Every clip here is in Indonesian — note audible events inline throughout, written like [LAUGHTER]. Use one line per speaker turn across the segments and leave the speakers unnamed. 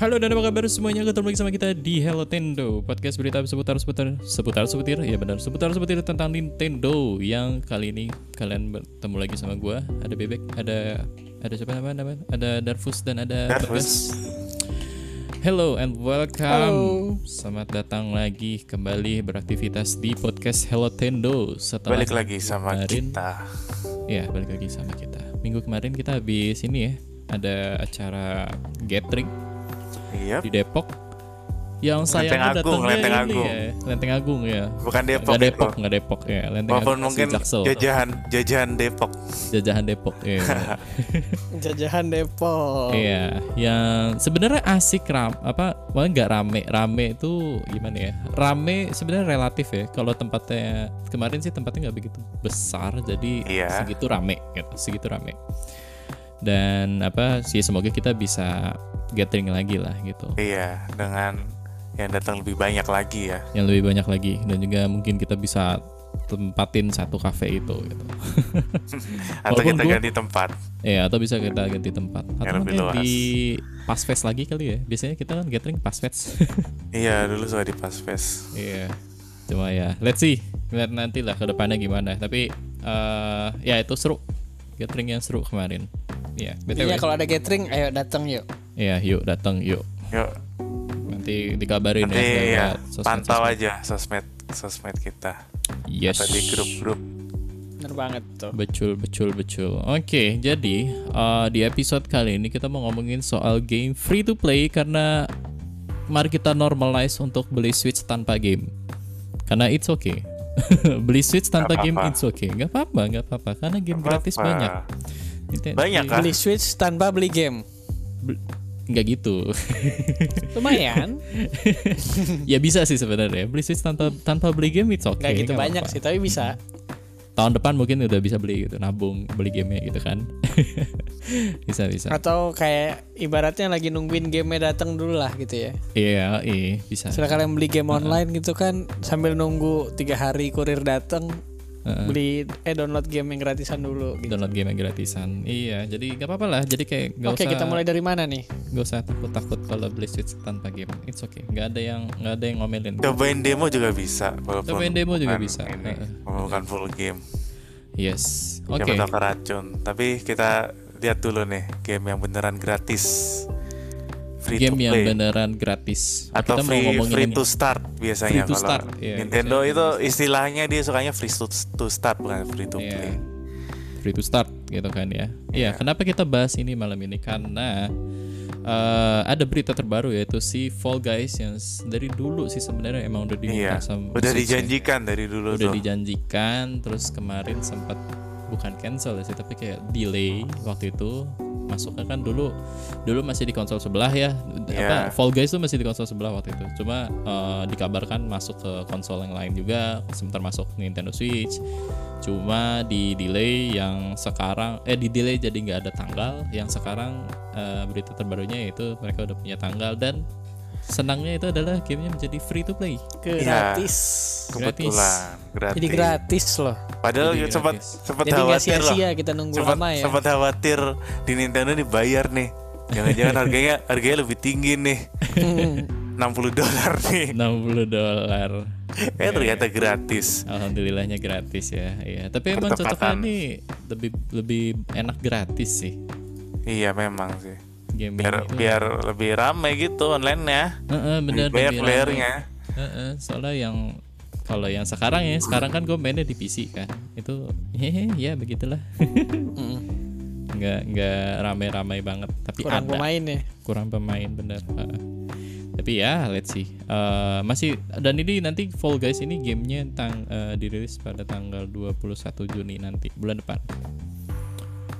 Halo dan apa kabar semuanya? Ketemu lagi sama kita di Hello Tendo Podcast berita seputar seputar seputar seputar ya benar seputar seputar tentang Nintendo yang kali ini kalian bertemu lagi sama gua ada bebek ada ada siapa nama nama ada Darfus dan ada Bagas.
Nervous.
Hello and welcome. Selamat datang lagi kembali beraktivitas di podcast Hello Tendo setelah
Balik lagi sama
kemarin.
kita.
Ya, balik lagi sama kita. Minggu kemarin kita habis ini ya, ada acara gathering
Iya.
di Depok. Yang sayangnya
Lenteng Agung,
datangnya
Lenteng
ini
Agung.
ya, Lenteng Agung ya.
Bukan Depok
Nggak Depok,
itu.
nggak Depok ya. Lenteng
Walaupun
Agung asli
mungkin
Jaksel.
jajahan jajahan Depok.
jajahan Depok
[LAUGHS]
ya.
Jajahan Depok.
Iya, yang sebenarnya asik ram apa malah nggak rame rame itu gimana ya? Rame sebenarnya relatif ya. Kalau tempatnya kemarin sih tempatnya nggak begitu besar, jadi
Iya.
segitu rame, gitu, segitu rame. Dan apa sih semoga kita bisa gathering lagi lah gitu,
Iya, dengan yang datang lebih banyak lagi ya.
yang lebih banyak lagi dan juga mungkin kita bisa tempatin satu cafe itu gitu.
Atau
Walaupun
kita
gua-
ganti tempat.
Ya atau bisa kita ganti tempat
Yang
atau
lebih
mungkin
luas.
di pasfest lagi kali ya. Biasanya kita kan gathering pasfest.
Iya, dulu suka di Pasfest.
[LAUGHS] Iya. Cuma ya, let's see. Lihat nanti lah ke depannya gimana. Tapi eh ya itu seru. Gathering yang seru kemarin. Iya,
Iya
BTW.
kalau ada gathering ayo datang yuk.
Iya, yuk datang yuk.
Yuk,
Nanti dikabarin
nanti
ya.
ya
lewat sosmed-
pantau
sosmed.
aja sosmed sosmed kita
Yes.
tadi grup-grup.
Bener banget tuh.
Becul, becul, becul. Oke, jadi eh, di episode kali ini kita mau ngomongin soal game free to play karena mari kita normalize untuk beli Switch tanpa game. Karena it's okay. [LAUGHS] beli Switch tanpa
Nggak
game
apa-apa.
it's okay. Gak apa-apa, gak apa-apa. Karena game
Nggak
gratis
apa-apa.
banyak. Nintendo-
Banyak kan?
Beli Switch tanpa beli game.
Bel- nggak gitu [LAUGHS]
[LAUGHS] Lumayan.
ya bisa sih sebenarnya beli Switch tanpa tanpa beli game itu oke
Gak gitu banyak sih tapi bisa.
tahun depan mungkin udah bisa beli gitu nabung beli gamenya gitu kan [LAUGHS] bisa bisa
Atau kayak ibaratnya lagi nungguin game-nya datang dulu lah gitu ya.
iya iya bisa
Setelah kalian beli game online gitu kan sambil nunggu tiga hari kurir datang
Heeh.
beli eh download game yang gratisan dulu gitu.
download game yang gratisan iya jadi nggak apa-apa lah jadi kayak nggak
Oke
usah
kita mulai dari mana nih?
nggak usah takut takut kalau beli Switch tanpa game it's okay nggak ada yang nggak ada yang ngomelin
Cobain demo juga bisa, walaupun
Cobain demo juga
bukan
bisa.
Ini,
Heeh.
bukan full game. Iya.
yes oke
Siapa tahu keracun. Tapi kita lihat dulu nih game yang beneran gratis. Free
game
to
yang
play.
beneran gratis
atau
kita mau
free,
ngomongin Iya.
free
yang-
to start
Free
biasanya
to
kalau
start, iya,
Nintendo itu istilahnya dia sukanya free to, to start bukan free to
Iya.
play.
Free to start gitu kan ya. Iya, kenapa kita bahas ini malam ini? Karena eh, ada berita terbaru yaitu si Fall Guys yang s- dari dulu sih sebenarnya emang udah
Iya.
diminta sama Switch
Udah
ya.
dijanjikan dari dulu
Udah
tuh.
dijanjikan terus kemarin sempat bukan cancel ya sih tapi kayak delay waktu itu masuknya kan dulu dulu masih di konsol sebelah ya
Iya.
apa Fall Guys tuh masih di konsol sebelah waktu itu cuma eh, dikabarkan masuk ke konsol yang lain juga sebentar masuk Nintendo Switch cuma di delay yang sekarang eh di delay jadi nggak ada tanggal yang sekarang eh, berita terbarunya yaitu mereka udah punya tanggal dan senangnya itu adalah gamenya menjadi free to play
Iya. Gratis.
Kebetulan gratis.
Jadi gratis [LAUGHS] loh.
Padahal
Jadi
sempat
gratis.
sempat
Jadi nggak
khawatir loh.
sia-sia kita nunggu
Sempat
lama ya.
sempat khawatir di Nintendo dibayar nih.
[LAUGHS]
Jangan-jangan harganya harganya lebih tinggi nih. 60 dolar nih.
60 dolar Iya,
Eh ternyata gratis.
Alhamdulillahnya gratis ya. Iya, tapi emang cocoknya
Pertempatan.
nih lebih lebih enak gratis sih.
Iya memang sih.
Game
Biar
ini.
biar lebih ramai gitu online-nya.
Heeh, bener
Lebih banyak
lebih
playernya.
rame. Heeh, soalnya yang kalau yang sekarang ya, sekarang kan gue mainnya di PC kan. Itu hehe ya begitulah.
Mm.
nggak nggak rame-ramai banget, tapi
Kurang
ada
pemain ya.
kurang pemain bener. Heeh. Tapi ya, let's see. Eh, masih dan ini nanti Fall Guys ini gamenya tang eh, dirilis pada tanggal 21 Juni nanti bulan depan.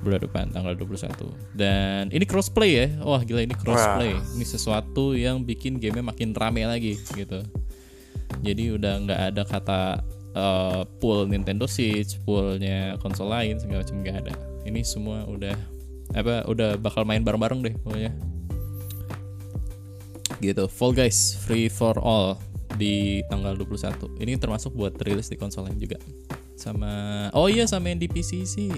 Bulan depan tanggal 21. Dan ini crossplay ya. Wah, gila ini crossplay. Ini sesuatu yang bikin gamenya makin rame lagi gitu. Jadi udah nggak ada kata eh, pool Nintendo Switch, poolnya konsol lain segala macam nggak ada. Ini semua udah apa udah bakal main bareng-bareng deh pokoknya gitu Fall Guys free for all di tanggal 21 ini termasuk buat rilis di konsol lain juga sama oh iya sama yang di PC sih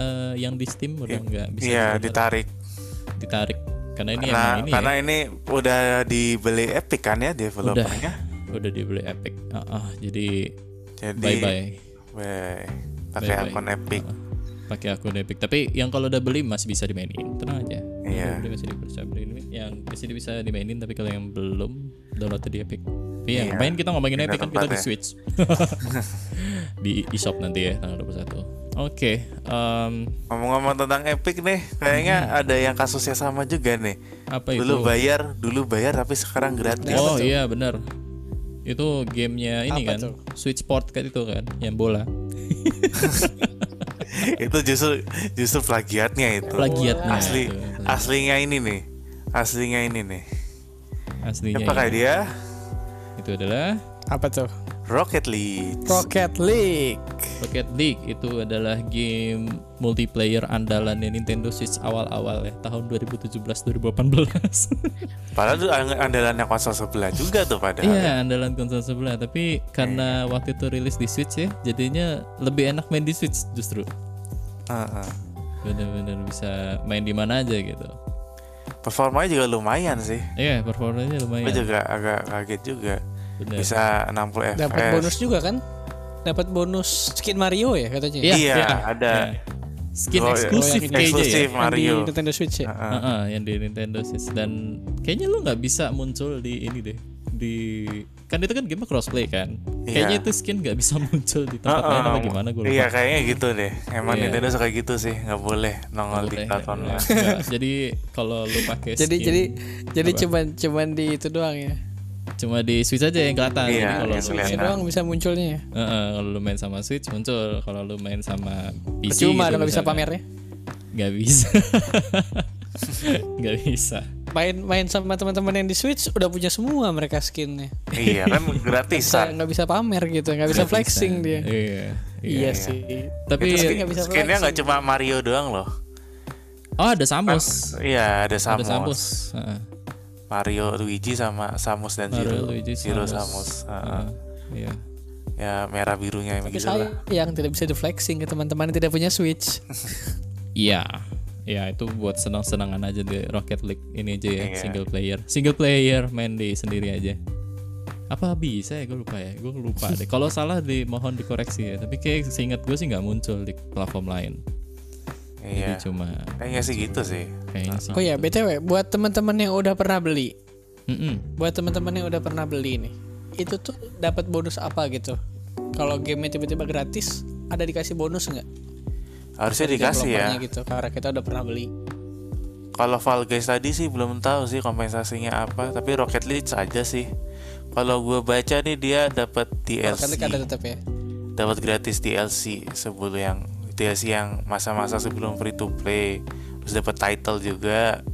eh, yang di Steam udah nggak bisa
Iya
download.
ditarik.
ditarik karena ini
karena
emang ini
karena
ya,
ini udah dibeli Epic kan ya developernya.
udah dibeli Epic. Ah, ah, jadi
Jadi
bye bye.
Weh, pakai
Bye-bye.
akun Epic.
pakai akun Epic. Tapi yang kalau udah beli masih bisa dimainin, tenang aja. Kalau
Iya.
udah beli masih bisa dimainin. Yang masih bisa dimainin, tapi kalau yang belum download di Epic. Tapi yang
Iya.
main kita ngomongin
Pindah
Epic kan
tempat
kita di
ya. [LAUGHS]
Switch. di eShop nanti ya tanggal 21. Oke, em,
Ngomong-ngomong tentang Epic nih, kayaknya ada yang kasusnya sama juga nih.
Hmm. apa itu?
Dulu bayar, dulu bayar tapi sekarang gratis.
oh iya benar. Itu gamenya ini kan,
Apa tuh?
Switch Sport kan itu kan, yang bola.
[LAUGHS] itu justru justru plagiatnya itu.
Plagiatnya.
Asli
itu.
aslinya ini nih. Aslinya ini nih.
Aslinya
Apa kayak
ini.
dia?
itu adalah
Apa tuh?
Rocket League.
Rocket League.
Rocket League itu adalah game multiplayer andalannya Nintendo Switch awal-awal ya tahun
[LAUGHS]
2017-2018.
Padahal tuh ang- andalannya konsol sebelah juga tuh padahal.
Iya andalan konsol sebelah tapi karena waktu itu rilis di Switch ya jadinya lebih enak main di Switch justru
Heeh.
bener-bener bisa main di mana aja gitu.
Performanya juga lumayan sih.
Iya performanya
Gue
lumayan.
juga agak kaget juga.
Bener.
Bisa 60 fps.
Dapat bonus juga kan? Dapat bonus skin Mario ya katanya.
Iya,
Iya,
iya,
ada.
iya. Skin
Oh, iya.
eksklusif
Oh, yang
kayaknya
eksklusif.
ya.
Yang
Mario.
Di Nintendo Switch ya.
Heeh.
Heeh, yang di Nintendo Switch dan kayaknya lu nggak bisa muncul di ini deh di kan itu kan game crossplay kan
Iya.
kayaknya itu skin nggak bisa [LAUGHS] muncul di tempat lain apa
Heeh.
gimana gue
Iya kayaknya gitu deh. Emang
Iya.
Nintendo suka gitu sih, nggak boleh nongol di platform lah.
jadi kalau lu pakai
Jadi
skin,
jadi jadi
Apa?
cuman cuman di itu doang ya.
cuma di Switch aja yang kelihatan
Iya,
Jadi kalau
yang
lu
Itu
main
kelihatan. Enak.
doang bisa munculnya ya.
Heeh, kalau lu main sama Switch muncul kalau lu main sama PC
Percuma
gitu
dong nggak bisa ya?
misalnya.
pamernya.
nggak bisa [LAUGHS] nggak bisa
Main main sama teman-teman yang di Switch udah punya semua mereka skinnya.
[LAUGHS]
iya kan
Bisa
gratisan.
nggak bisa pamer gitu, nggak bisa flexing dia.
iya
Iya sih.
tapi
Itu
Skin-
skin nggak bisa
Skinnya
flexing.
nggak cuma Mario doang loh.
oh ada Samus
Iya
ada
ada Samus.
Samus Heeh.
Mario, Luigi sama Samus dan
Mario,
Zero.
Luigi,
Zero
Samus.
Samus. Heeh.
Heeh, iya.
Ya merah birunya yang
Tapi
gitu
saya
lah.
yang tidak bisa di flexing ke teman-teman yang tidak punya Switch.
Iya. Ya itu buat senang-senangan aja di Rocket League ini aja ya
Iya.
single player. Single player main di sendiri aja. Apa bisa ya gue lupa ya. Gue lupa deh. Kalau salah di mohon dikoreksi ya. Tapi kayak seingat gue sih nggak muncul di platform lain. Jadi
Iya.
cuma
Kayaknya sih gitu sih.
kayaknya sih.
Oh ya, BTW buat teman-teman yang udah pernah beli,
Mm-mm.
Hmm,
buat teman-teman yang udah pernah beli nih itu tuh dapat bonus apa gitu kalau gamenya tiba-tiba gratis ada dikasih bonus nggak
Harusnya dikasih ya.
Developernya gitu karena kita udah pernah beli
Kalau Fall Guys tadi sih belum tahu sih kompensasinya apa, tapi Rocket League aja sih. Kalau gue baca nih dia dapat
kan
DLC,
ada tetap ya
dapat gratis DLC sebelum yang DLC yang masa-masa sebelum free to play, terus dapat title juga,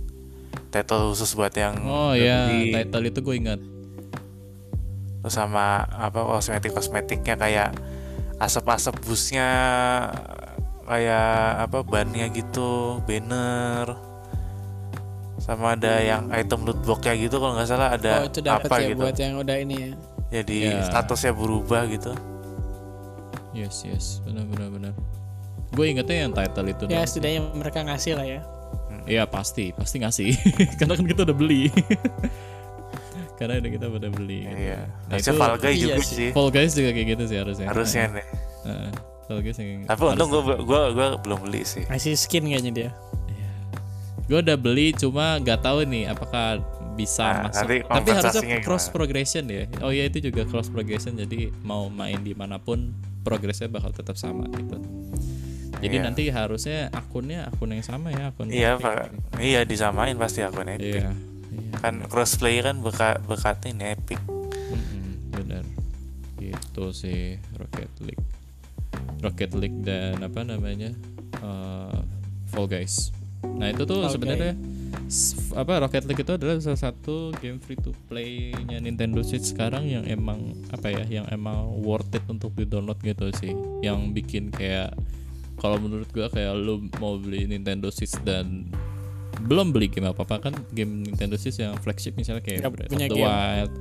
title khusus buat yang
Oh ya,
lebih.
title itu gue ingat.
terus sama apa kosmetik kosmetiknya kayak asap-asap busnya kayak apa bannya gitu banner sama ada yang item loot boxnya gitu kalau nggak salah
Hmm. oh
ada
itu dapat
apa
ya
gitu
buat yang udah ini ya
jadi
Ya.
statusnya berubah gitu
Yes, yes. Benar benar benar. Gue ingetnya yang title itu.
ya
doang.
setidaknya mereka ngasih lah ya
Iya pasti, pasti ngasih. [LAUGHS] Karena kan kita udah beli. [LAUGHS] Karena udah kita udah beli. gitu.
iya
Nah,
harusnya
itu-
Fall Guys
iya
juga
sih.
sih
Fall Guys juga kayak gitu sih harusnya.
harusnya nih
Heeh. Fall Guys yang gitu.
tapi untung gue gua gua belum beli sih
ngasih skin kayaknya dia
gue udah beli cuma nggak tahu nih apakah bisa
Nah,
masuk.
nanti
Tapi harusnya
kompensasinya
cross
gimana?
progression ya. Oh iya itu juga cross progression jadi mau main dimanapun progresnya bakal tetap sama gitu. Jadi
Iya.
nanti harusnya akunnya akun yang sama ya akun.
iya
Epic.
Pak. iya disamain pasti akunnya
Iya. Iya.
kan crossplay kan bekat bekatin ya, epic
Mm-mm, benar gitu sih Rocket League Rocket League dan apa namanya eh, Fall Guys nah itu tuh
Fall
sebenarnya s- apa Rocket League itu adalah salah satu game free to play-nya Nintendo Switch sekarang yang emang apa ya yang emang worth it untuk di download gitu sih yang bikin kayak kalau menurut gua kayak lu mau beli Nintendo Switch dan belum beli game apa apa kan game Nintendo Switch yang flagship misalnya kayak
Nggak
Breath of
punya
the
game.
Wild,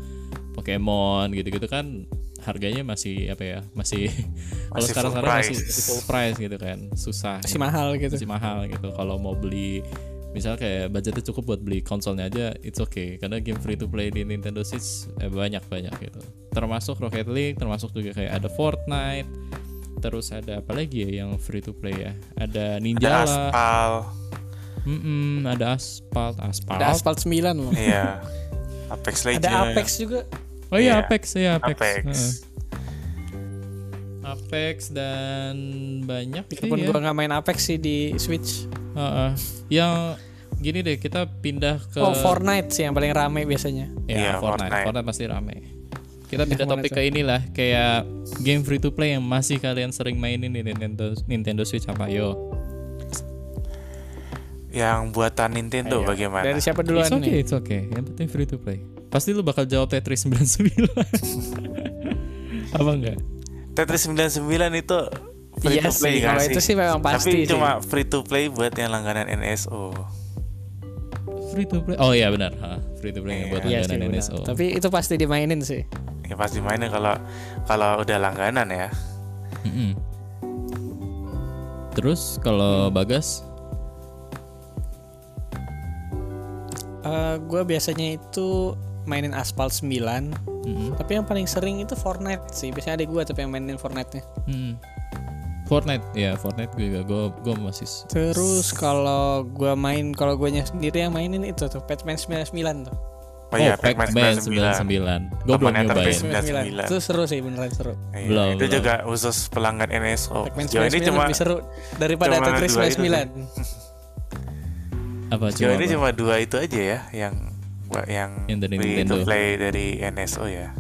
Pokemon gitu-gitu kan harganya masih apa ya masih [LAUGHS] kalau
Masih
sekarang
full
sekarang masih,
price.
masih full price gitu kan susah
masih mahal gitu
masih mahal gitu kalau mau beli misal kayak budgetnya cukup buat beli konsolnya aja it's okay karena game free to play di Nintendo Switch eh, banyak banyak gitu termasuk Rocket League termasuk juga kayak ada Fortnite terus ada apa lagi ya yang free to play ya ada
Ada
Ninjala
aspal.
Mm-mm, ada aspal aspal
Ada Asphalt 9 loh.
Iya. Apex Legends.
Ada Apex juga.
oh iya
Iya.
Apex ya Apex
Apex.
Heeh. Apex dan banyak sih
Walaupun
ya.
gua nggak main Apex sih di Switch.
Heeh. yang gini deh kita pindah ke
Oh, Fortnite sih yang paling rame biasanya.
Iya,
ya, Fortnite.
Fortnite.
Fortnite pasti rame kita pindah
kemana
topik
tuh?
ke inilah kayak game free to play yang masih kalian sering mainin di Nintendo Nintendo Switch apa yo
Yang buatan Nintendo bagaimana?
Iya. Dari siapa duluan
it's okay
nih?
it's okay yang penting free to play pasti lu bakal jawab Tetris 99
[LAUGHS]
apa enggak
Tetris 99 itu free
Iya
to play
sih,
nggak
kalau itu sih memang pasti
Tapi
sih.
cuma free to play buat yang langganan NSO.
free to play oh iya benar Ha, free to play yang buat
Iya sih
langganan
benar.
NSO
Tapi itu pasti dimainin sih.
Ya pasti mainnya kalau kalau udah langganan ya.
Mm-mm. terus
Hmm.
kalau Bagas
Eh gue biasanya itu mainin Asphalt 9
Mm-mm.
tapi yang paling sering itu Fortnite sih biasanya ada gue tapi yang mainin Fortnite-nya Hmm.
Mm. Fortnite ya Fortnite gue juga gue gue masih s-
terus kalau gue main kalau gue sendiri yang mainin itu tuh Pac-Man 99 tuh
Oh, iya, Pac-Man
Pac-Man 99. Gue
99.
belum
Temennya
nyobain.
Tetris. 99.
itu seru sih beneran seru
Iya,
Belum,
itu
belum.
juga khusus pelanggan NSO.
Pac-Man
Sejauh ini
99
cuma
lebih seru daripada
cuma
Tetris
dua itu
99
Apa cuma
sejauh ini
apa?
cuma dua itu aja ya yang buat yang
Yang dari
free
Nintendo.
to play dari NSO ya.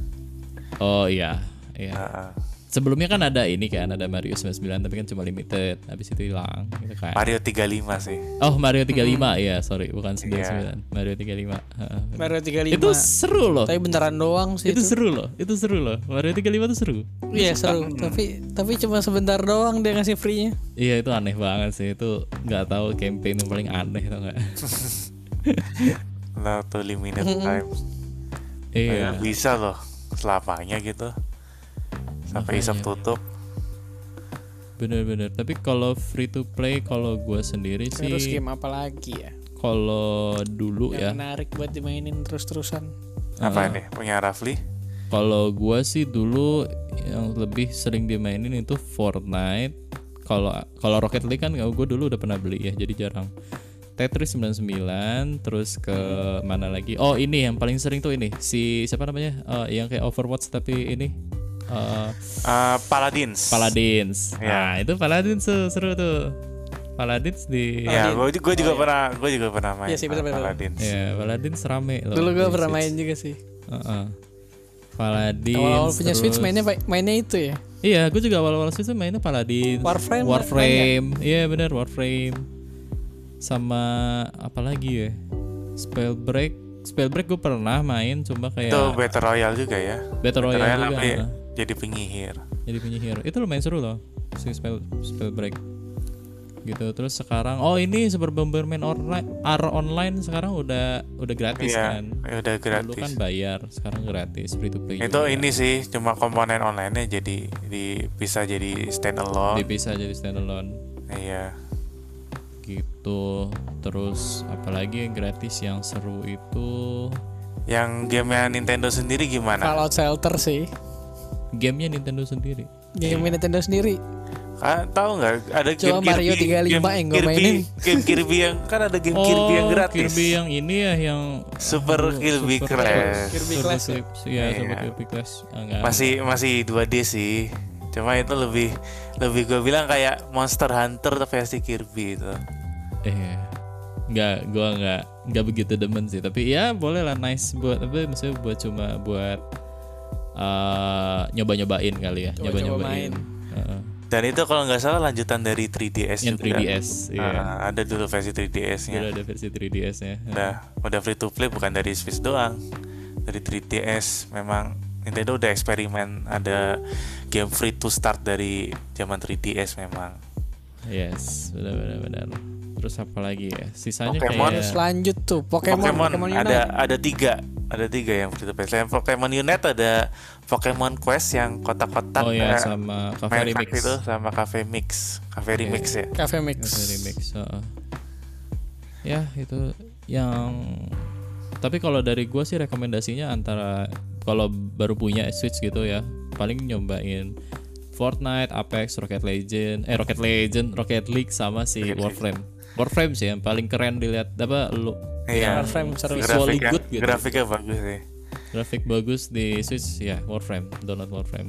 Oh iya, iya.
Heeh.
Sebelumnya kan ada ini kan ada Mario 99 tapi kan cuma limited. Habis itu hilang gitu kan.
Mario 35 sih.
Oh, Mario 35 iya, sorry, bukan 99. Mario 35. Heeh,
kan?
bener.
Mario 35
Itu seru loh.
tapi beneran doang sih
Itu
itu,
seru loh. Itu seru loh. Mario 35 itu seru.
iya seru tapi tapi cuma sebentar doang dia ngasih free nya
Iya, itu aneh banget sih. Itu nggak tahu campaign yang paling aneh tau enggak.
Nah, tuh limited time.
iya.
Padahal Bisa loh selamanya gitu. Sampai isap tutup.
Bener-bener. Tapi kalau free to play kalau gua sendiri
terus
sih
game apa lagi ya
kalau dulu ya
yang menarik buat dimainin terus-terusan
Iya.
Apa nih punya Rafli?
Kalau gua sih dulu yang lebih sering dimainin itu Fortnite. Kalau kalau Rocket League kan gue dulu udah pernah beli ya, jadi jarang. Tetris 99, terus ke mana lagi? Oh ini yang paling sering tuh ini si siapa namanya? Eh, yang kayak Overwatch tapi ini eh
Eh, Paladins.
Paladins. Nah
Ya.
itu Paladins tuh seru tuh. Paladins Oh, iya. di
Ya, gue juga pernah, gue juga pernah main
Iya sih, betul, betul.
Paladins.
ya Paladins rame loh.
dulu gue
di
pernah main
Switch.
juga sih
Heeh. Paladins.
awal punya
terus-
Switch mainnya mainnya itu
Nah.
ya
Iya, gue juga awal-awal season mainnya Paladin.
Warframe,
Warframe. Iya benar Warframe. Sama apa lagi ya? Spellbreak. Spellbreak gue pernah main, cuma kayak
Itu Battle Royale juga ya.
Battle
Battle
Royale
Royale iya.
juga.
tapi
ah.
jadi penyihir.
Jadi penyihir. Itu lumayan seru loh. Si Spell Spellbreak. Gitu. Terus sekarang oh ini Super Bomberman Online R online sekarang udah udah gratis
Iya,
kan.
udah
Dulu
gratis.
kan bayar, sekarang gratis free to play.
itu ini sih cuma komponen online-nya jadi di bisa jadi stand alone.
bisa jadi standalone.
Iya.
gitu terus apalagi yang gratis yang seru itu
Yang gamenya Nintendo sendiri gimana?
Fallout Shelter sih
gamenya Nintendo sendiri
game Nintendo sendiri
Ah, tahu nggak ada
Cuma
game
Mario
Kirby,
35
game
yang gua
Kirby-
mainin. Oh,
Game Kirby yang kan ada game Kirby yang gratis.
Oh, Kirby yang ini ya yang
Super Kirby
Super
Crash.
Kirby
Super
Clash ya?
Clips, iya Super
Iya.
Kirby Clash Ah, enggak.
masih masih 2D sih cuma itu lebih lebih gue bilang kayak Monster Hunter versi Kirby itu
eh nggak gua nggak nggak begitu demen sih tapi ya boleh lah nice buat apa maksudnya buat cuma buat nyoba nyobain kali ya nyoba
Coba-coba
nyobain
main.
dan itu kalau nggak salah lanjutan dari 3DS
yang
juga
3DS iya
Ah, ada dulu versi 3DS-nya
Dulu ada versi 3DS nya
udah Nah, udah free to play bukan dari Switch doang dari 3DS memang Nintendo udah eksperimen ada game free to start dari zaman 3DS memang
Yes, benar-benar benar. Terus apa lagi ya? Sisanya
Pokemon.
kayak
terus lanjut tuh Pokemon
Pokemon, ada
Unite.
ada tiga ada tiga yang free to play selain Pokemon Unite ada Pokemon Quest yang kotak-kotak
Oh ya
eh,
sama Cafe
main
Remix. Iya,
Remix. itu sama Cafe Mix Cafe Remix ya
Cafe Mix
Cafe Remix. heeh. ya itu yang tapi kalau dari gua sih rekomendasinya antara kalau baru punya Switch gitu ya paling nyobain Fortnite, Apex, Rocket Legend, eh Rocket Legend, Rocket League sama si
Rocket League.
Warframe. Warframe sih yang paling keren dilihat apa lu
Iya.
yang
Warframe seru.
visually
grafiknya,
good gitu.
grafiknya bagus sih.
Grafik bagus di Switch ya Warframe, download Warframe.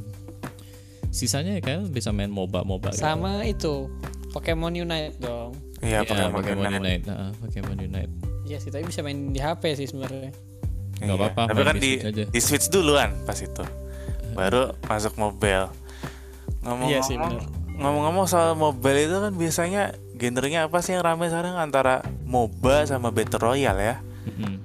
Sisanya ya kan bisa main MOBA-MOBA gitu.
Sama itu Pokemon Unite dong.
Iya,
Ya,
pakai
Pokemon
makanan.
Unite. Heeh, Pokemon Unite.
Iya sih, tapi bisa main di HP sih sebenarnya.
Nggak
Iya.
apa-apa,
Tapi
main
kan
di
di,
Switch aja.
di Switch duluan pas itu. Baru masuk mobile. Ngomong-ngomong,
Iya sih, bener.
ngomong-ngomong soal mobile itu kan biasanya genrenya apa sih yang ramai sekarang antara MOBA sama Battle Royale ya.
Mhm.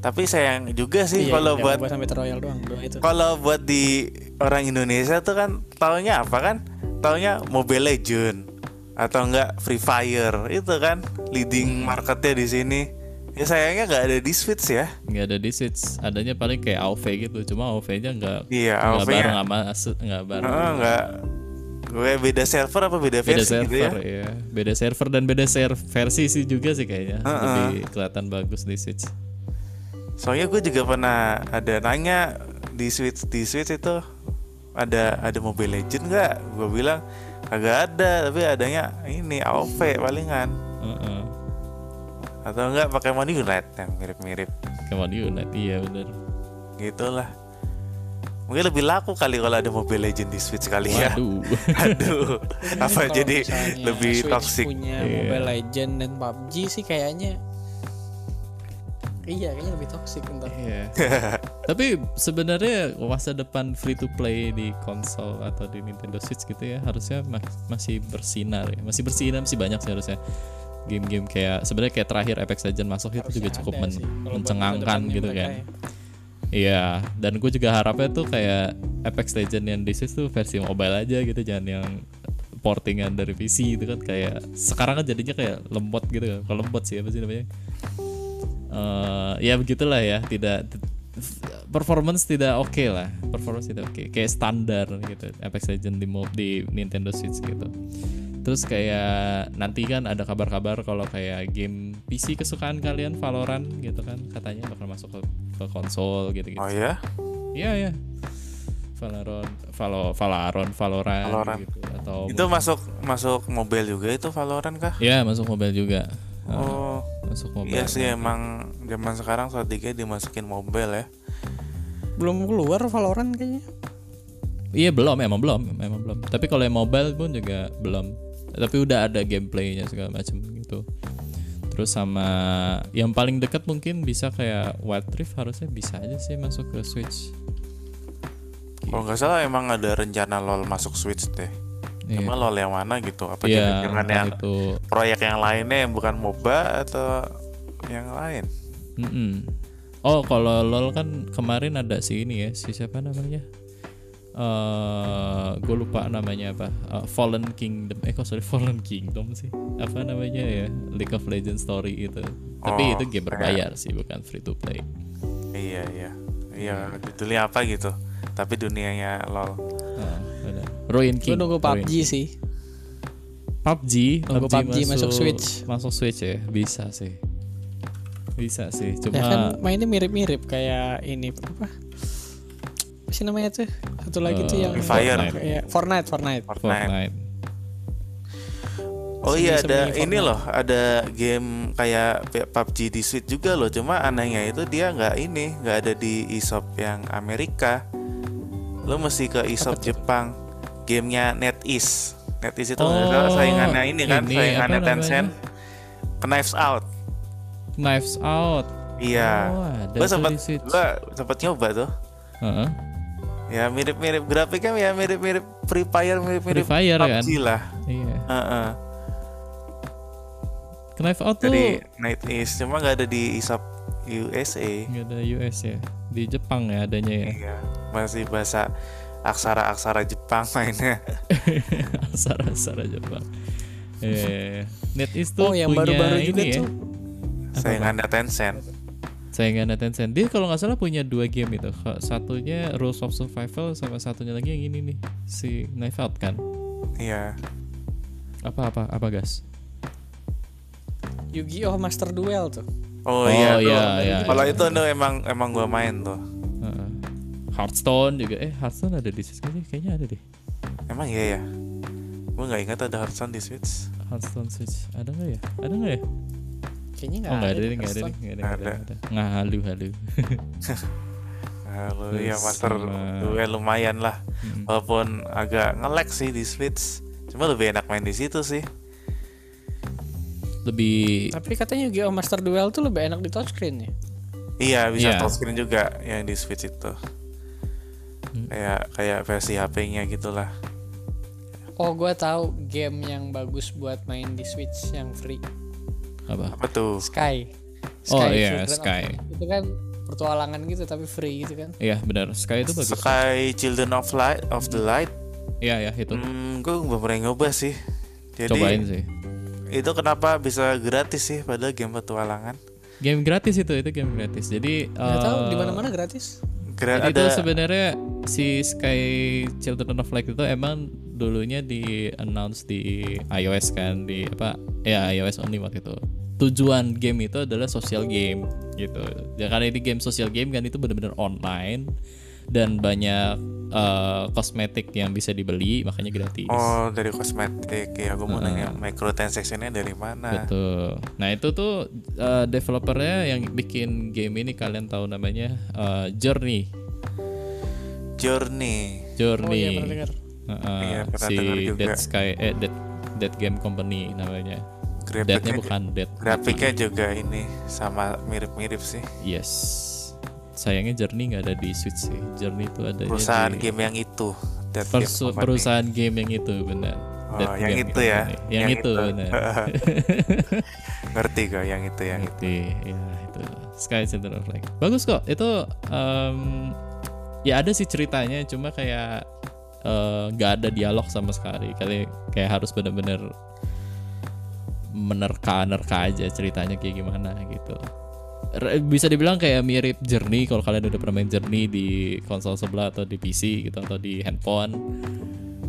Tapi sayang juga sih
Iya,
kalau
iya,
buat
jangan sampai Royal doang dong itu.
kalau buat di orang Indonesia tuh kan taunya apa kan? Taunya Mobile Legend atau enggak Free Fire itu kan leading marketnya di sini. Ya sayangnya nggak ada di Switch ya.
nggak ada di Switch adanya paling kayak AOV gitu cuma AOV nya nggak
Iya,
nggak
AOV -nya.
bareng sama se- nggak bareng
Heeh, nggak gue beda server apa beda
beda
versi gitu ya?
server ya. beda server dan beda ser- versi sih juga sih kayaknya
Heeh.
lebih kelihatan bagus di Switch
Soalnya gue juga pernah ada nanya di Switch di Switch itu ada ada Mobile Legend nggak? Gue bilang agak ada, tapi adanya ini AOV palingan
Heeh.
atau enggak pakai Money Unite yang mirip-mirip
Pokemon Unite iya bener
gitulah. Mungkin lebih laku kali kalau ada Mobile Legend di Switch kali ya.
waduh
[LAUGHS] Aduh, apa
Kalau
jadi
misalnya
lebih
Switch
toxic?
punya
Iya.
Mobile Legend dan PUBG sih kayaknya Iya, kayaknya lebih toxic entar.
Iya. [LAUGHS] tapi sebenarnya masa depan free to play di konsol atau di Nintendo Switch gitu ya harusnya ma- masih bersinar ya. masih bersinar masih banyak sih harusnya game-game kayak sebenarnya kayak terakhir Apex Legends masuk itu juga cukup men- mencengangkan gitu kan Iya, dan gue juga harapnya tuh kayak Apex Legends yang this is tuh versi mobile aja gitu, jangan yang portingan dari PC itu kan kayak sekarang kan jadinya kayak lembot gitu kan. Kalau lembot sih apa sih namanya? Eh, ya begitulah ya, tidak performance tidak oke lah, performance tidak oke. Kayak standar gitu Apex Legends di mo- di Nintendo Switch gitu. Terus kayak nanti kan ada kabar-kabar kalau kayak game PC kesukaan kalian Valorant gitu kan katanya bakal masuk ke, ke konsol gitu-gitu.
Oh ya?
Iya ya. Valorant, Valo, Valorant, Valorant,
Valorant.
gitu atau
Itu masuk masuk mobile juga itu Valorant kah?
ya masuk mobile juga. Nah,
Oh,
masuk mobile.
iya sih emang zaman sekarang strateginya dimasukin mobile ya.
Belum keluar Valorant kayaknya.
Iya belum, emang belum, emang belum. Tapi kalau yang mobile pun juga belum. Tapi udah ada gameplaynya segala macam gitu. Terus sama yang paling dekat mungkin bisa kayak Wild Rift harusnya bisa aja sih masuk ke Switch.
Kalau nggak salah emang ada rencana lol masuk Switch deh.
Iya.
Cuma lol yang mana gitu? Apa
Iya,
jangan-jangan
entah
yang
itu
proyek yang lainnya yang bukan MOBA atau yang lain?
Mm-mm. Oh, kalau LoL kan kemarin ada si ini ya, si siapa namanya? eh gue lupa namanya apa. Eh, Fallen Kingdom. Eh, kok sorry [LAUGHS] Fallen Kingdom sih. Apa namanya ya? League of Legends story itu. Tapi
Oh,
itu game
iya.
berbayar sih, bukan free to play.
Iya iya. Iya, judulnya apa gitu? Tapi dunianya lol.
Ah, benar. Ruin King.
Gue nunggu
Ruin
PUBG
King.
sih.
PUBG,
Nunggu PUBG masuk Switch.
Masuk Switch ya, bisa sih. Bisa sih. Cuma
Ya kan mainnya mirip-mirip kayak ini apa? Apa sih namanya tuh? Satu lagi tuh
Eh,
yang
Free Fire.
Iya, Fortnite,
Fortnite.
Fortnite.
Fortnite.
Oh iya ada
Semi-semi
ini
Fortnite.
loh ada game kayak P- PUBG di Switch juga loh cuma anehnya itu dia nggak ini nggak ada di eShop yang Amerika lo mesti ke eShop Jepang gamenya NetEase NetEase itu nggak salah
Oh,
saingannya ini kan
ini,
saingannya
apa
Tencent Knives Out
Knives Out.
iya
Oh, ada
gue
tuh
sempat
di Switch.
gue sempat nyoba tuh
Heeh.
ya mirip-mirip grafiknya ya mirip-mirip Free Fire mirip-mirip
Free Fire kan?
PUBG lah
Iya.
Heeh.
Knife Out tuh
dari NetEase cuma nggak ada di eShop USA
nggak ada US ya, di Jepang ya adanya ya. [LAUGHS]
Iya, masih bahasa aksara-aksara Jepang
[LAUGHS]
mainnya.
Sara-sara Jepang. Eh, NetEase tuh
Oh, yang
punya
baru-baru
ini
juga
ya.
tuh.
Saingannya Tencent.
Saingan Tencent. Dia kalau nggak salah punya dua game itu. Kalau Satunya Rules of Survival sama satunya lagi yang ini nih, si Knife Out kan.
Iya.
Apa apa apa gas?
Yu-Gi-Oh Master Duel tuh.
Oh,
Oh,
iya,
iya,
tuh.
iya,
Kalau
iya.
itu tuh emang emang gua main tuh.
Heeh. Hearthstone juga eh Hearthstone ada di Switch nggak sih? Kayaknya ada deh.
Emang iya ya. Gua nggak ingat ada Hearthstone di Switch.
Hearthstone Switch ada nggak ya? Ada nggak ya?
Kayaknya nggak
Oh nggak ada
deh,
deh, nggak ada
Hearthstone.
deh, nggak ada. nggak ada,
Ada.
nggak ada. Nggak halu halu. [LAUGHS]
Halo,
Terus
ya Master
sama-
Duel lumayan lah.
Mm.
Walaupun agak nge-lag sih di Switch. Cuma lebih enak main di situ sih.
Lebih
Tapi katanya Yu-Gi-Oh Master Duel tuh lebih enak di touchscreen ya.
Iya, bisa
Iya.
touchscreen juga yang di Switch itu.
Hmm.
Kayak kayak versi gitu HP-nya gitulah.
Oh, gue tahu game yang bagus buat main di Switch yang free.
apa?
Apa tuh?
Sky.
Oh,
Sky
iya,
Children of-
Sky.
Itu kan pertualangan gitu tapi free gitu kan.
Iya benar. Sky itu bagus.
Sky Children of Light of the Light.
Iya ya itu.
Hmm, gue belum pernah nyoba sih. Jadi
Cobain sih.
itu kenapa bisa gratis sih padahal game petualangan?
Game gratis itu itu game gratis. Jadi
Nggak tahu
eh,
di mana-mana gratis.
Gra-
Jadi itu
ada
sebenarnya si Sky Children of Light itu emang dulunya di announce di iOS kan di apa ya iOS only waktu itu. Tujuan game itu adalah social game gitu. Ya karena ini game social game kan itu benar-benar online dan banyak eh, kosmetik yang bisa dibeli makanya gratis.
Oh dari kosmetik ya, gue mau nanya microtransaction-nya dari
Ah.
mana?
Betul. Nah itu tuh uh, developernya yang bikin game ini kalian tahu namanya uh, Journey.
Journey.
Journey.
Oh iya, pernah dengar.
Uh-uh,
Iya, pernah
si
dengar juga.
Dead Sky eh Dead Dead Game Company namanya. Deadnya
Grafiknya,
bukan Dead.
grafiknya juga ini sama mirip-mirip sih.
Yes. Sayangnya Journey nggak ada di Switch sih. Journey itu ada
Perusahaan
di
game yang itu. Dead Game
persu-
Company.
perusahaan game yang itu benar.
Oh,
Dead
yang
Game
itu ya.
Company. Yang, itu, benar.
[LAUGHS] Ngerti gue yang itu yang itu.
Ngerti, ya itu Sky Center of Light. Bagus kok. Itu em, ya ada sih ceritanya, cuma kayak eh, nggak ada dialog sama sekali. Kali kayak harus bener-bener menerka-nerka aja ceritanya kayak gimana gitu. Re- Bisa dibilang kayak mirip Journey kalau kalian udah pernah main Journey di konsol sebelah atau di PC gitu atau di handphone.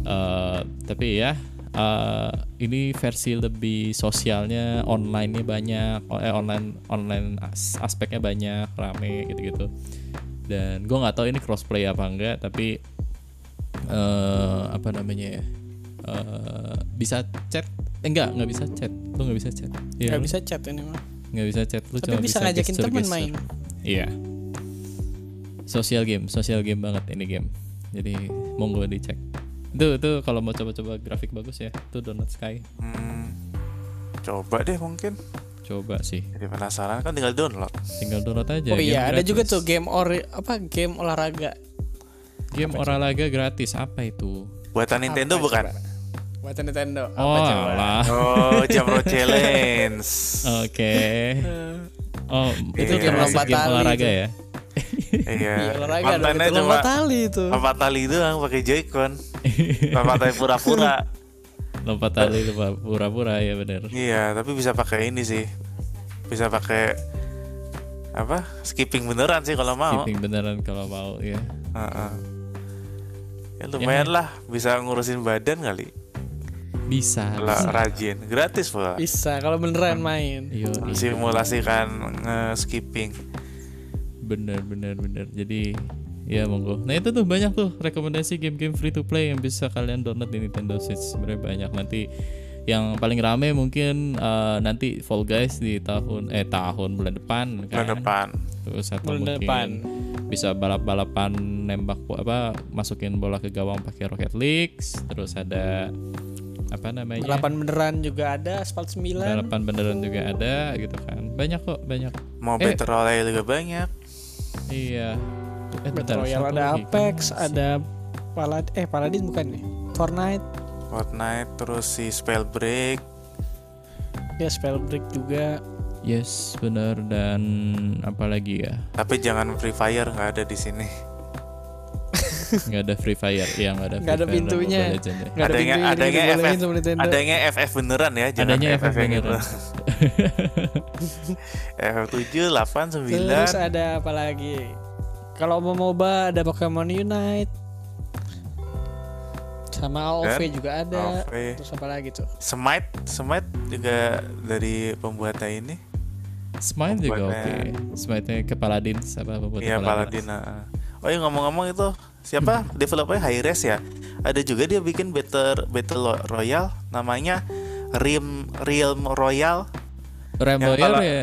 Eh, tapi ya eh, ini versi lebih sosialnya online-nya banyak o- eh, online online as- aspeknya banyak rame gitu-gitu dan gue nggak tahu ini crossplay apa enggak tapi eh apa namanya ya Eh, bisa chat Eh, enggak nggak bisa chat lu nggak bisa chat Iya,
Nggak
lu
bisa chat ini mah.
nggak bisa chat lu
Tapi
cuma
bisa ngajakin
gesture-
teman
gesture.
main.
Iya. Sosial game, sosial game banget ini game. Jadi monggo dicek. Itu itu kalau mau coba-coba grafik bagus ya. Itu Donut Sky.
Hmm, coba deh mungkin.
Coba sih.
Jadi penasaran kan tinggal download.
Tinggal download aja. Ya,
Oh
game
iya, ada
gratis.
juga tuh game or apa game olahraga.
game olahraga gratis apa itu?
Buatan Nintendo
Apa
[LAUGHS]
bukan?
coba? Buat Nintendo.
oh,
coba?
lah.
Oh, Jamro Challenge.
Oke.
[LAUGHS]
Oh, itu
Iya.
game,
Lompat
game
tali
olahraga
itu.
ya.
Iya,
Iya.
olahraga ada
Kontennya
betul.
cuma
Lompat tali itu.
empat tali doang pakai
[LAUGHS]
Joy-Con. Empat tali pura-pura.
Lompat tali itu pura-pura ya bener
Iya, tapi bisa pakai ini sih. Bisa pakai apa? Skipping beneran sih kalau mau.
Skipping beneran kalau mau ya.
Heeh. Ya lumayan lah, bisa ngurusin badan kali.
Bisa.
Lah rajin, gratis pula.
Bisa kalau beneran main.
Yo,
Simulasikan nge-skipping.
Bener bener bener. Jadi ya monggo. Nah itu tuh banyak tuh rekomendasi game-game free to play yang bisa kalian download di Nintendo Switch. Sebenarnya banyak nanti yang paling rame mungkin eh, nanti Fall Guys di tahun eh tahun bulan depan kan.
Bulan depan.
Terus atau
Bulan
mungkin
depan.
bisa balap-balapan nembak bo- apa masukin bola ke gawang pakai Rocket League. Terus ada apa namanya?
Balapan beneran juga ada Asphalt 9.
Balapan beneran juga ada gitu kan. Banyak kok, banyak.
Mau
Eh.
battle royale juga banyak.
Iya. Eh, bentar,
Battle Royale
satu
ada
lagi.
Apex, ada Palad eh Paladin bukan nih. Fortnite,
Fortnite terus si Spellbreak.
ya Spellbreak juga.
Yes, benar dan apalagi ya?
Tapi jangan Free Fire nggak ada di sini.
nggak ada Free Fire, iya nggak ada. Free Fire
Nggak ada
dan
pintunya.
Mobile Legends ya.
Nggak ada
adanya
pintunya, jadi
adanya
dibolehin
FF
sama Nintendo.
adanya FF beneran ya, jangan
Adanya
FF,
FF
yang itu.
beneran.
FF 7, 8, 9.
Terus ada apa lagi? Kalau mau MOBA ada Pokemon Unite. sama AOV juga ada
AOV.
terus apa lagi tuh
Smite Smite juga dari pembuatnya ini
Smite juga oke.
Pembuatnya-
Smite ke Paladin apa apa
Iya Paladin ah. Oh iya ngomong-ngomong itu siapa
Hmm.
developernya Hi-Res ya ada juga dia bikin Battle Battle Lo- Royale namanya Realm Realm Royale
Realm
Yang
Royale
kalau-
ya.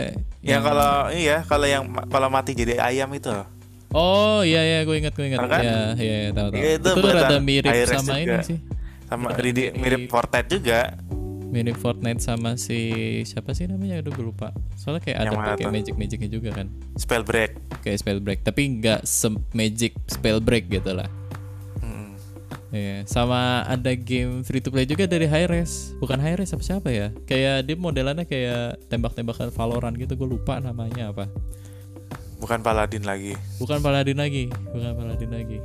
yang
Hmm.
kalau iya kalau yang ma- kalau mati jadi ayam itu loh.
Oh iya iya gue ingat gue ingat.
Kan?
Iya iya iya, tahu tahu.
Iya,
Itu,
itu buatan
rada mirip
Hi-Res
sama ini
juga.
sih.
sama
Iya,
Ada
di- di-
mirip-
mirip Fortnite juga
Mirip Fortnite sama si siapa sih namanya? Aduh gue lupa. Soalnya kayak ada
Yang mana
pakai
tuh?
magic-magicnya juga kan.
Spellbreak.
Kayak spell break, tapi nggak se- magic spell break gitu lah.
Mm.
Iya, sama ada game free to play juga dari Hi-Res. Bukan Hi-Res apa siapa ya? Kayak dia modelannya kayak tembak-tembakan Valorant gitu, gue lupa namanya apa.
Bukan Paladin lagi.
Bukan Paladin lagi, bukan Paladin lagi.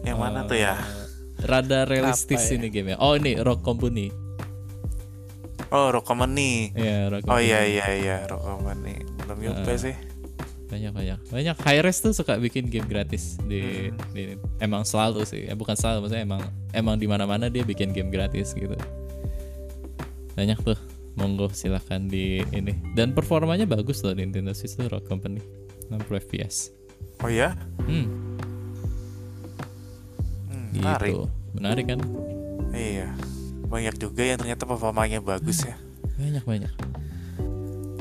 Yang mana tuh ya?
Eh. Rada realistis
Apa ya?
ini game ya. Oh, ini Rock Company.
Oh, Rokomeni.
Iya, Eh. Rock
Oh
Company.
iya iya iya, Rokomeni. Belum juga sih.
Banyak banyak. Banyak Hi-Res tuh suka bikin game gratis di, di- emang selalu sih. Ya, bukan selalu maksudnya emang emang di mana-mana dia bikin game gratis gitu. Banyak tuh. Monggo silahkan di ini. Dan performanya bagus loh Nintendo Switch tuh Rock Company. 60 FPS.
Oh ya?
Hmm,
Hmm,
gitu.
menarik.
Menarik kan?
Iya. Banyak juga yang ternyata performanya bagus ya.
banyak banyak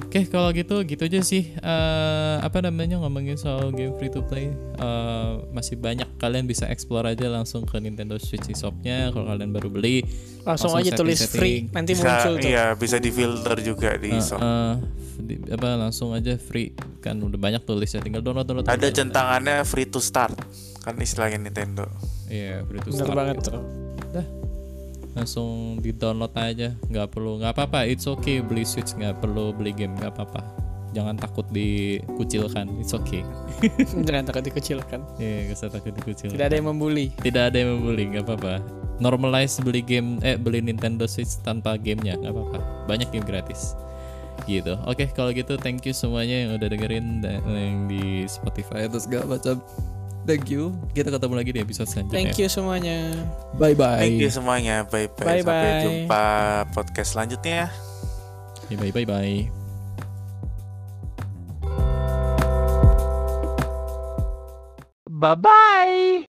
oke kalau gitu gitu aja sih Eh, apa namanya ngomongin soal game free to play Eh, masih banyak kalian bisa explore aja langsung ke Nintendo Switch shopnya kalau kalian baru beli
langsung, aja tulis free
setting-setting.
nanti muncul
Bisa
tuh
iya, bisa difilter juga di
Eh,
shop.
eh, di- apa langsung aja free kan udah banyak tulisnya tinggal download download
Ada
download.
centangannya free to start. Kan istilahnya Nintendo.
iya free to
bener
start
banget
gitu.
tuh [LAUGHS]
Dah. langsung di download aja nggak perlu nggak apa-apa it's okay beli Switch nggak perlu beli game nggak apa-apa jangan takut dikucilkan it's okay
jangan takut dikecilkan
Iya, gak usah takut dikucilkan.
tidak ada yang membuli
Tidak ada yang membuli, nggak apa-apa. Normalize beli game, eh beli Nintendo Switch tanpa gamenya, nggak apa-apa. Banyak game gratis. Gitu. Oke, kalau gitu thank you semuanya yang udah dengerin dan yang di Spotify atau segala macam. Thank you. Kita ketemu lagi di episode selanjutnya.
thank you semuanya
Bye bye.
Thank you semuanya. Bye bye.
Bye-bye.
Sampai jumpa podcast selanjutnya ya.
Bye bye bye.
Bye bye.